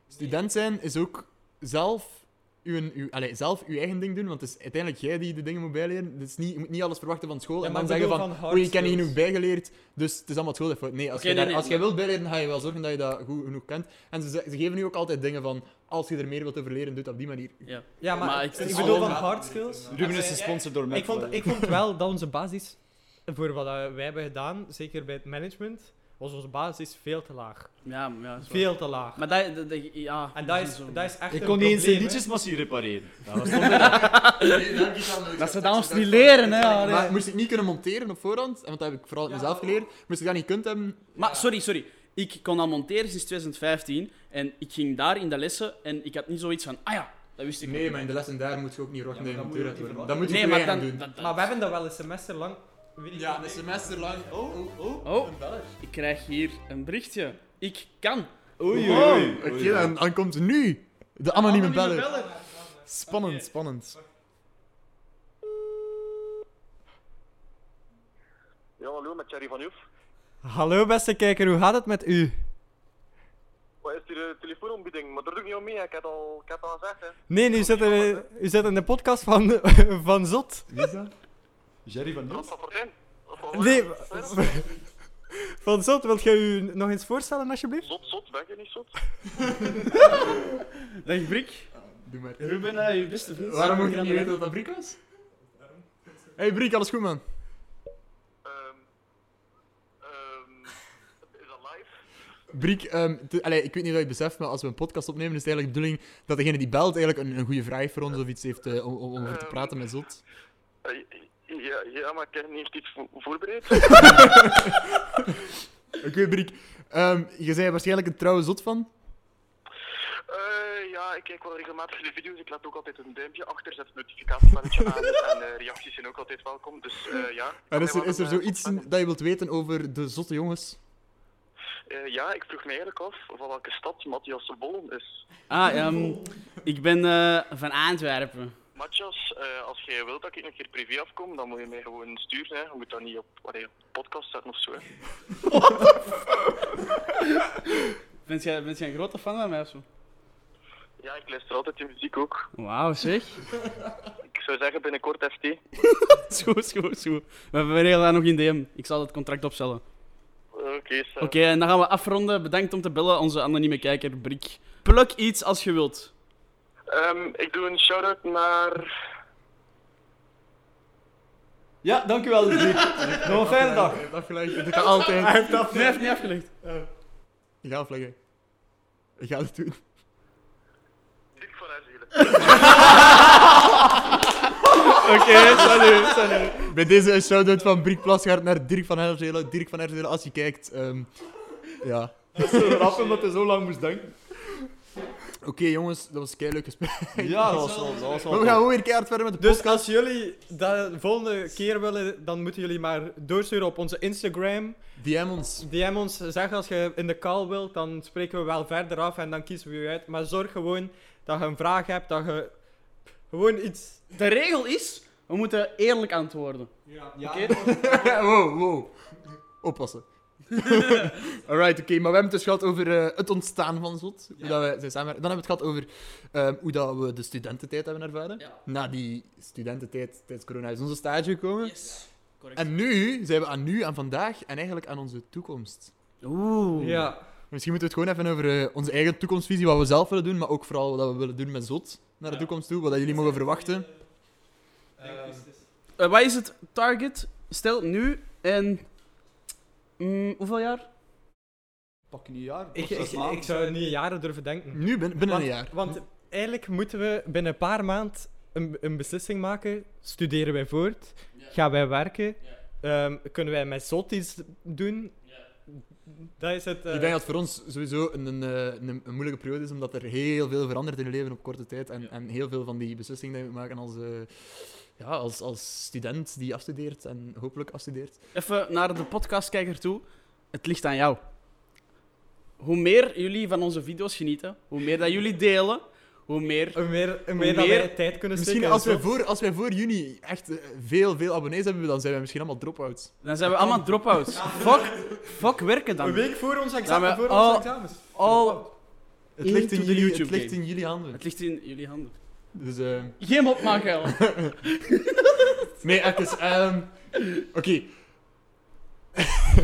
Student zijn is ook zelf uw, uw, allez, zelf uw eigen ding doen, want het is uiteindelijk jij die de dingen moet bijleren. Dus niet, je moet niet alles verwachten van school
Ja,
en
maar
dan
ik
zeggen
bedoel
van,
van hard
oei, ik heb niet
skills."
genoeg bijgeleerd, dus het is allemaal school. Nee, als,
Oké,
jij,
nee,
daar-
nee,
als jij
nee.
wilt bijleren, dan ga je wel zorgen dat je dat goed genoeg kent. En ze, ze geven nu ook altijd dingen van, als je er meer wilt over leren, doe het op die manier.
Ja.
Ja, maar,
Maar ik-
ik,
het is
bedoel van
allemaal-
hard skills.
taak. Ruben is gesponsord door Mac.
Ik vond, ik vond wel dat onze basis, voor wat eh, wij hebben gedaan, zeker bij het management, was onze basis veel te laag.
Ja, maar ja. dat is waar.
Veel te laag.
Maar dat, dat, dat- ja.
En dat is,
zo.
dat is echt
Ik
een
kon niet eens de
probleem, hè.
liedjesmachine repareren.
Dat ze dat ons niet leren, hè. allee.
Maar moest ik niet kunnen monteren op voorhand, en want dat heb ik vooral uit mezelf geleerd, moest ik dat niet kunnen hebben,
Maar sorry, sorry. Ik kon al monteren sinds 2015 en ik ging daar in de lessen en ik had niet zoiets van, ah ja, dat wist ik
Nee, maar in de lessen daar moet je ook niet
Ja,
rochten
maar
ja,
dat moet
moet
je ook
je
niet
doen. Dat
verwachten.
moet je
Nee,
maar
maar dan... dat- dat-
Maar we hebben dat wel een semester lang. weet ik niet.
semester lang. Oh, oh,
Oh.
een beller.
Ik krijg hier een berichtje. Ik kan.
Oei, oei,
Wow.
oei.
Oké, dan, dan komt nu de anonieme beller. Spannend,
Oké.
spannend.
Ja, hallo, met Thierry van Hoef.
Hallo beste kijker, hoe gaat het met u?
Wat is die eh, telefoonontbieding? Maar daar doe ik niet om mee, ik heb al, ik heb al gezegd. Hè.
Nee, u zit, er, eh, u zit in de podcast van, van Zot.
Wie is dat? Jerry van Nieuws?
Wat voor zin? Wat voor
Nee,
zin?
van Zot, wilt jij u nog eens voorstellen alsjeblieft?
Zot, zot, ben je niet zot?
Dag Brik.
Doe maar.
Ruben, eh, je beste vriend.
Waarom mocht je niet weten wat dat Brik was? Hey Brik, alles goed man?
Ehm ehm is dat live?
Brik, ehm, te- allee, ik weet niet of je het beseft, maar als we een podcast opnemen, is het eigenlijk de bedoeling dat degene die belt eigenlijk een, een goede vraag heeft voor ons of iets heeft eh, om, om om over te praten met Zot.
Eh, ja, ja, maar ik heb niet echt iets vo- voorbereid.
Oké Brik, ehm, je bent waarschijnlijk een trouwe Zot van.
Eh, ja, ik kijk wel regelmatig de video's. Ik laat ook altijd een duimpje achter, zet het notificatiebelletje aan. En eh, reacties zijn ook altijd welkom, dus eh, ja.
En is er, is er
Eh,
zoiets dat je wilt weten over de zotte jongens?
eh, ja, ik vroeg me eigenlijk af van welke stad Matthias de Bollen is.
Ah, ehm, ik ben eh, van Antwerpen.
Matjas, eh, als jij wilt dat ik nog een keer privé afkom, dan moet je mij gewoon sturen. Hè. Je moet dat niet op allee, op podcast zetten of zo. Hè.
Bent jij, bent jij een grote fan van mij of zo?
Ja, ik luister altijd je muziek ook.
Wauw, zeg.
Ik zou zeggen binnenkort FT. Eh,
Zo, zo, zo. We hebben daar nog in DM. Ik zal het contract opstellen.
Oké, Kees. eh,
Oké, en dan gaan we afronden. Bedankt om te bellen, onze anonieme kijker, Brik. Pluk iets als je wilt.
ehm, ik doe een shout-out naar...
Ja, dankjewel. Dick. Nog een fijne dag.
Je hebt afgelegd. Je doet dat altijd.
Nee, heeft niet afgelegd.
Je gaat afleggen. Je gaat het doen.
Dick van Azelen.
Oké, salut, salut.
Bij deze een shout-out van Brik Plasgaard naar Dirk van Herzelen. Dirk van Herzelen, als je kijkt. ehm, ja.
Rap omdat hij zo lang moest denken.
Oké, jongens, dat was een leuk gesprek.
Ja, dat was wel. Dat was wel
Maar we gaan gewoon weer keihard verder met de podcast.
Dus als jullie dat de volgende keer willen, dan moeten jullie maar doorsturen op onze Instagram.
DM ons.
DM ons, zeg als je in de call wilt, dan spreken we wel verder af en dan kiezen we je uit. Maar zorg gewoon dat je een vraag hebt, dat je gewoon iets...
De regel is, we moeten eerlijk antwoorden.
wow, wow. Oppassen. Alright, oké, maar we hebben het dus gehad over eh, het ontstaan van Zot. Hoe dat wij zijn samenwerken. Dan hebben we het gehad over ehm, hoe dat we de studententijd hebben ervaren.
Ja.
Na die studententijd tijdens corona is onze stage gekomen.
Yes. Correct.
En nu zijn we aan nu, aan vandaag en eigenlijk aan onze toekomst.
Oeh.
Ja.
Misschien moeten we het gewoon even over eh, onze eigen toekomstvisie, wat we zelf willen doen, maar ook vooral wat we willen doen met Zot naar de toekomst toe, wat dat jullie mogen verwachten.
Eh, wat is het target? Stel nu en. mm, hoeveel jaar?
Pak een jaar.
Ik, ik, ik zou niet jaren durven denken.
Nu, bin- binnen
want,
een jaar.
Want eigenlijk moeten we binnen een paar maanden een, een beslissing maken. Studeren wij voort? Gaan wij werken? Ehm, kunnen wij met zot iets doen? Dat is het... eh,
Ik denk dat het voor ons sowieso een, een, eh, een, een moeilijke periode is, omdat er heel veel verandert in je leven op korte tijd. En, en heel veel van die beslissingen die we maken als, eh, ja, als, als student die afstudeert en hopelijk afstudeert.
Even naar de podcastkijker toe. Het ligt aan jou. Hoe meer jullie van onze video's genieten, hoe meer dat jullie delen, hoe meer.
Hoe meer, hoe meer dat
meer-
wij tijd kunnen
Misschien
steken.
als wij,
Zot.
voor, als wij voor juni echt eh, veel, veel abonnees hebben, dan zijn wij misschien allemaal drop-outs.
Dan zijn we allemaal dropouts. Fuck, fuck werken
Een
dan.
week voor ons examen.
Ja, maar-
voor onze
oh.
examens.
Al,
Het ligt, in
Into the
jullie, het
YouTube
ligt
game.
in jullie handen.
het ligt in jullie handen.
Dus, eh,
Geen mop maken, al.
nee, echt eens, ehm, Oké,
Ah,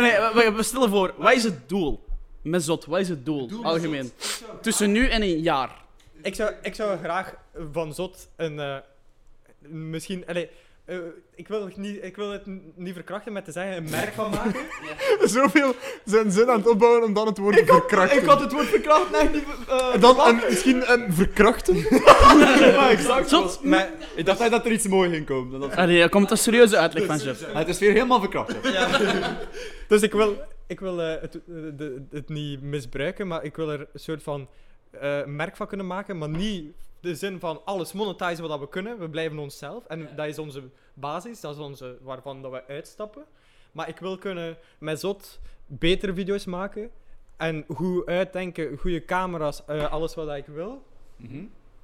Nee, we- we, we stellen voor, wat is het doel? Met zot, wat is het doel? Algemeen. Tussen nu en een jaar.
Ik zou, ik zou graag van Zot een. eh, misschien. Allee, eh, ik, wil het niet, ik wil het n- niet verkrachten met te zeggen een merk van maken.
zoveel zijn zin aan het opbouwen om dan het woord te verkrachten.
het woord verkracht echt niet. eh,
En Dan een, misschien een verkrachten?
ja, exact.
Zot!
Maar
Ik dacht dat er iets moois ging komen. Dat-
Allee, er Ah, komt een serieuze uitleg van Jeff.
Het is weer helemaal verkracht. hè.
Dus ik wil, ik wil eh, het, eh, de- het niet misbruiken, maar ik wil er een soort van eh, merk van kunnen maken. Maar niet de zin van alles monetizen wat dat we kunnen. We blijven onszelf. En dat is onze basis, dat is onze, waarvan dat we uitstappen. Maar ik wil kunnen met Zot betere video's maken. En goed uitdenken, goede camera's, eh, alles wat ik wil.
Mhm.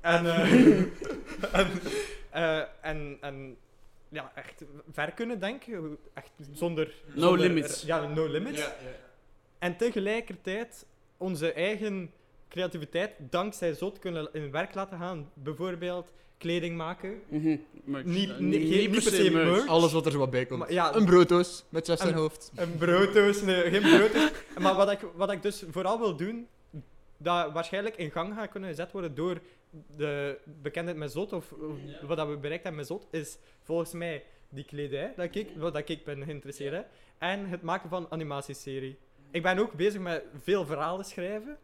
En, eh, en, eh, en, en ja, echt ver kunnen denken. Echt zonder...
No
zonder-
limits.
Ja, no limits. En tegelijkertijd onze eigen creativiteit dankzij Zot kunnen in werk laten gaan. Bijvoorbeeld kleding maken.
Mhm, merch.
Niet-
Eh,
niet- geen- niet per se
Ah.
merch.
Alles wat er zo wat bij komt.
Maar ja,
Een brooddoos met Jeff zijn
En-
hoofd.
Een brooddoos, nee, geen brooddoos. Maar wat ik, wat ik dus vooral wil doen, dat waarschijnlijk in gang gaat kunnen gezet worden door de bekendheid met Zot, of of wat dat we bereikt hebben met Zot, is volgens mij die kledij, dat ik, wat dat ik ben geïnteresseerd hè, en het maken van animatieserie. Ik ben ook bezig met veel verhalen schrijven,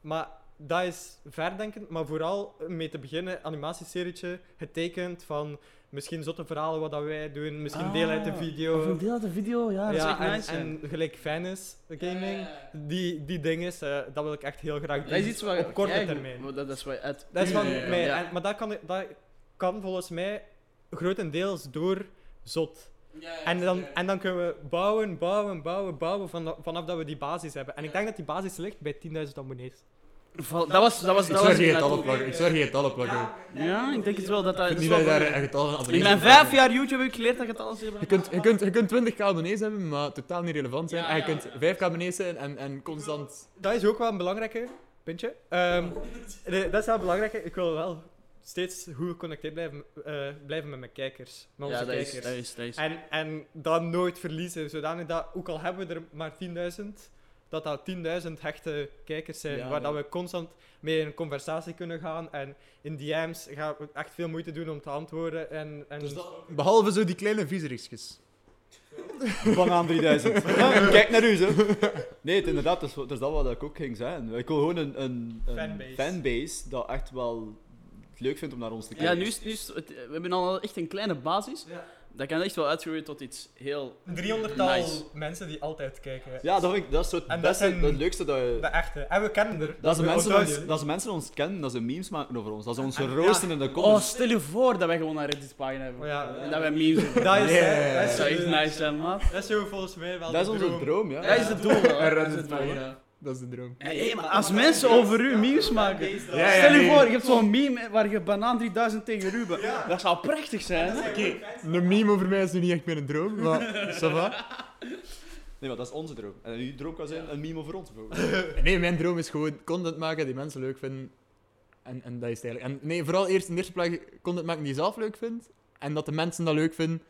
maar dat is verdenkend, maar vooral mee te beginnen, animatieserietje, getekend van misschien zotte verhalen wat dat wij doen, misschien deel uit de video.
Ah, Of een deel uit de video, ja, dat is echt
Ja, en,
nice. ja.
en gelijk Venice gaming,
Ja, ja,
Die, die dingen, eh, dat wil ik echt heel graag doen.
Dat is iets wat...
op korte
jij goed-
termijn.
maar Dat is wat uit...
Dat is van
Ja, ja,
mij.
ja.
En, maar dat kan, dat kan volgens mij grotendeels door zot. En dan, en dan kunnen we bouwen, bouwen, bouwen, bouwen vanaf, vanaf dat we die basis hebben. En ik denk dat die basis ligt bij 10.000 abonnees.
Val- Dat was... Dat was,
Ik
dat
zou
was
geen
inderdaad-
getallen plakken. Ik zou geen getallen plakken.
Ja, ik denk het wel dat dat...
Ik
dat is
vind niet
wel
dat je daar
belangrijk.
een getal van
In
abonnees
mijn
hebt.
vijf jaar YouTube heb ik geleerd dat je het alles...
Je kunt, je, kunt, je kunt 20k abonnees hebben, maar totaal niet relevant zijn.
Ja,
en je
ja.
kunt 5k abonnees zijn en, en constant...
Dat is ook wel een belangrijke, puntje. Ehm, de- dat is wel belangrijk. Ik wil wel steeds goed geconnecteerd blijven, eh, blijven met mijn kijkers. Met onze
Ja, dat
kijkers.
is, dat is, dat is.
En, en dat nooit verliezen. Zodanig dat, ook al hebben we er maar 10.000, dat dat 10.000 hechte kijkers zijn.
Ja,
waar
ja.
Dat we constant mee in conversatie kunnen gaan. En in DM's gaan we echt veel moeite doen om te antwoorden. En, en
Dus Behalve zo die kleine viezerikjes.
Bang aan 3000. Ja, Kijk naar u, zo. Nee, het, inderdaad, dat is, dat is dat wat ik ook ging zeggen. Ik wil gewoon een, een, een
Fanbase.
fanbase dat echt wel het leuk vindt om naar ons te
Ja,
kijken.
nu is, nu is het- we hebben al echt een kleine basis.
Ja.
Dat kan echt wel uitgroeien tot iets heel...
een 300-tal
Nice.
mensen die altijd kijken.
Ja, dat vind ik dat is zo het
En dat
beste,
zijn-
het leukste dat je...
De echte. En we kennen er. Oh,
Dat ze,
we
mensen
onthouden
ons,
jullie.
dat ze mensen ons kennen, dat ze memes maken over ons, dat ze ons
En-
roosten in de
Oh,
comments.
stel je voor dat wij gewoon een Reddit-pagina hebben.
Oh ja.
En dat wij memes doen.
Dat is,
Yeah.
dat
Dat
is,
zou echt nice zijn, man.
dat is zo volgens mij wel
dat is
de
onze droom, ja.
Dat is het doel.
Een
hè. Dat is het doel, hè.
Reddit-pagina. Dat is de droom.
Hé, hey, maar als mensen over u memes maken...
Ja, ja,
Stel je
nee.
voor, je hebt zo'n meme waar je banaan 3000 tegen Ruben. Dat zou prachtig zijn, hè?
Een meme over mij is nu niet echt meer een droom, maar ça va.
Nee, maar dat is onze droom. En uw droom kan zijn een meme over ons, bijvoorbeeld.
Nee, mijn droom is gewoon content maken die mensen leuk vinden. En, en dat is het eigenlijk. En nee, vooral eerst in de eerste plaats content maken die je zelf leuk vindt. En dat de mensen dat leuk vinden.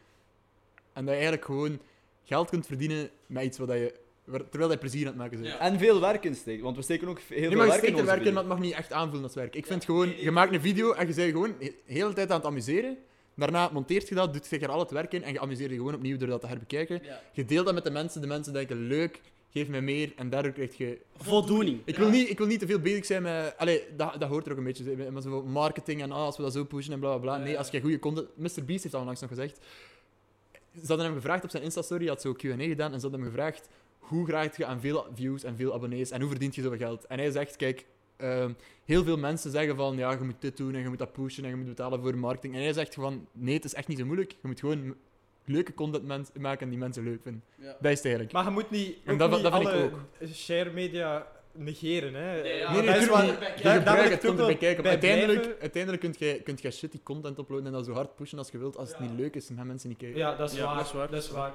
En dat je eigenlijk gewoon geld kunt verdienen met iets wat je, waar- terwijl je plezier aan het maken bent.
En veel werk in steekt, want we steken ook heel
Nu
veel
mag
werk
je
in
steken
onze
werken,
video.
maar het mag niet echt aanvoelen als werk. Ik vind gewoon, je maakt een video en je bent gewoon de hele tijd aan het amuseren. Daarna monteert je dat, doet je er al het werk in en je amuseert je gewoon opnieuw door dat te herbekijken.
Ja.
Je deelt dat met de mensen, de mensen denken leuk, geef mij meer en daardoor krijg je...
Voldoening.
Ik wil niet, ik wil niet te veel bezig zijn met... Allee, dat, dat hoort er ook een beetje, met- met zo marketing en ah, als we dat zo pushen en bla bla bla. Nee, als je goede content... Mr. Beast heeft al langs nog gezegd. Ze hadden hem gevraagd op zijn Insta-story, hij had zo Q&A gedaan en ze hadden hem gevraagd hoe graag je aan veel views en veel abonnees en hoe verdient je zoveel geld? En hij zegt, kijk, ehm, heel veel mensen zeggen van ja, je moet dit doen en je moet dat pushen en je moet betalen voor marketing. En hij zegt van nee, het is echt niet zo moeilijk. Je moet gewoon m- leuke content mens- maken die mensen leuk vinden.
Ja.
Dat is het eigenlijk.
Maar je moet niet,
En
ook
dat-
niet
dat vind ik
alle
ook.
share media negeren, hè.
ja.
Nee,
Nee,
nee,
dat is
tuurlijk
waar-
niet.
daar-
Je
daar
gebruikt
wil ik
het
ook
content
wel
bij kijken. Maar
bij blijven.
uiteindelijk, uiteindelijk kun, je, kun je shitty content uploaden en dat zo hard pushen als je wilt. Als het niet leuk is, dan gaan mensen niet kijken.
Ja, dat is,
Ja,
waar,
dat is waar.
Dat is waar.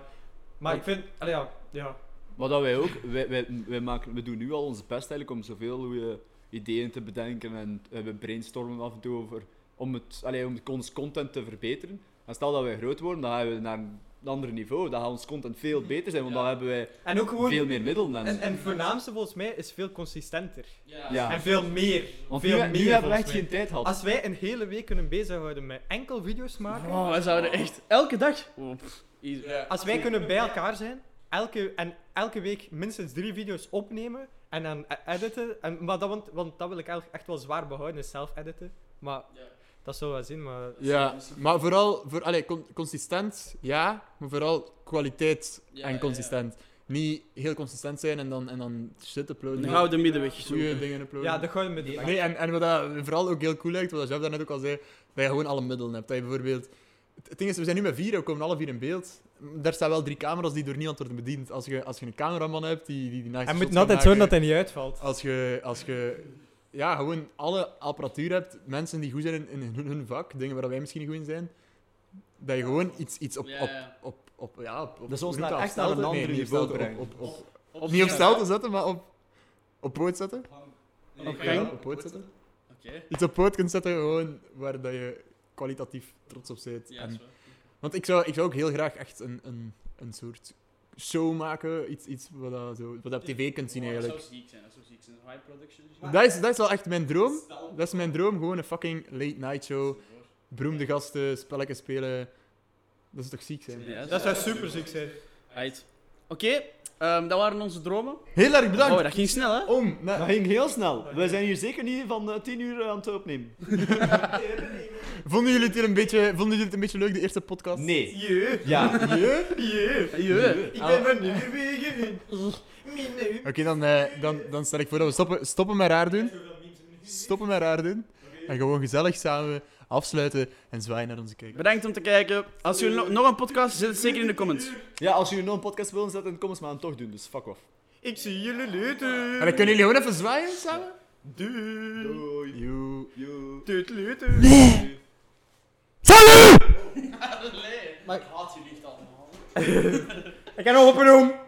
Maar ik vind... Allee, ja, ja.
Maar dat wij ook, wij, wij, wij maken, we doen nu al onze best eigenlijk om zoveel goede ideeën te bedenken en eh, we brainstormen af en toe over om, het, allee, om ons content te verbeteren. En stel dat wij groot worden, dan gaan we naar een ander niveau, dan gaat ons content veel beter zijn, want dan hebben wij
En ook gewoon...
veel meer middelen. En,
En, en het voornaamste volgens mij is veel consistenter.
ja.
En veel meer.
Want nu,
veel
nu
meer,
hebben we
volgens
echt
mij.
geen tijd gehad.
Als wij een hele week kunnen bezighouden met enkel video's maken,
Oh, wij zouden echt elke dag... Oh, pff, easy.
als wij kunnen bij elkaar zijn, elke, en elke week minstens drie video's opnemen en dan e- editen, en, maar dat, want, want dat wil ik eigenlijk echt wel zwaar behouden, is zelf editen. Maar dat zullen we wel zien, maar...
Ja, maar vooral voor, allee, con- consistent, ja, maar vooral kwaliteit
Ja, ja,
en
ja.
consistent. Niet heel consistent zijn en dan, en dan shit uploaden.
Een
maar
gouden middenweg
Goede
zoeken.
dingen uploaden.
Ja, de gouden middenweg.
Nee, en, en wat dat vooral ook heel cool lijkt, wat Jeff daarnet ook al zei, dat je gewoon alle middelen hebt. Dat je bijvoorbeeld... Het het ding is, we zijn nu met vier, we komen alle vier in beeld. Daar staan wel drie camera's die door niemand worden bediend. Als je, als je een cameraman hebt die die, die nice
Hij
shots
moet
kan
altijd zorgen dat
maken,
hij niet uitvalt.
Als je, als je ja, gewoon alle apparatuur hebt, mensen die goed zijn in, in hun, hun vak, dingen waar wij misschien niet goed in zijn, dat je gewoon iets, iets op...
Ja,
op,
ja.
op, op, ja, op, op
Dat is ons
hoe noemt
naar- echt naar
Stelte?
een ander
nee, niet op
niveau
stelte,
brengen.
Op, op, op, niet op stel te zetten, maar op, op poot zetten.
Op
Ja,
gang.
op poot zetten
Oké.
iets op poot kunt zetten gewoon waar dat je kwalitatief trots op bent.
Ja,
En-
dat is waar.
want ik zou, ik zou ook heel graag echt een, een, een soort show maken, iets, iets wat, dat zo, wat dat op tv kunt zien
Oh, dat
eigenlijk.
zou ziek zijn, dat zou ziek zijn. High production. dus-
Dat is, dat is wel echt mijn droom. Dat is mijn droom, gewoon een fucking late night show. Beroemde gasten, spelletjes spelen. Dat zou toch ziek zijn?
Ja,
Dat zou super ziek zijn.
Right. Oké, ehm, dat waren onze dromen.
Heel erg bedankt
Oh, dat ging snel, hè?
om naar-
Dat ging heel snel. We zijn hier zeker niet van eh, 10 uur aan het opnemen.
Vonden jullie, het hier een beetje, vonden jullie het een beetje leuk, de eerste podcast?
Nee.
Jee,
Ja.
Je?
Jee.
ik ben van Noorwegen.
Oké, dan, eh, dan, dan stel ik voor dat we stoppen, stoppen met raar doen. Stoppen met raar doen. En gewoon gezellig samen afsluiten en zwaaien naar onze kijker.
Bedankt om te kijken. Als jullie nog- nog een podcast, zet het zeker in de comments.
ja, als jullie nog een podcast willen zetten, kom eens maar aan toch doen, dus fuck off.
Ik zie jullie later.
En dan kunnen jullie gewoon even zwaaien samen.
Doei.
Doei.
Joe.
Joe.
Doei, later.
Maar ik haat jullie allemaal.
Ik heb nog op een oom.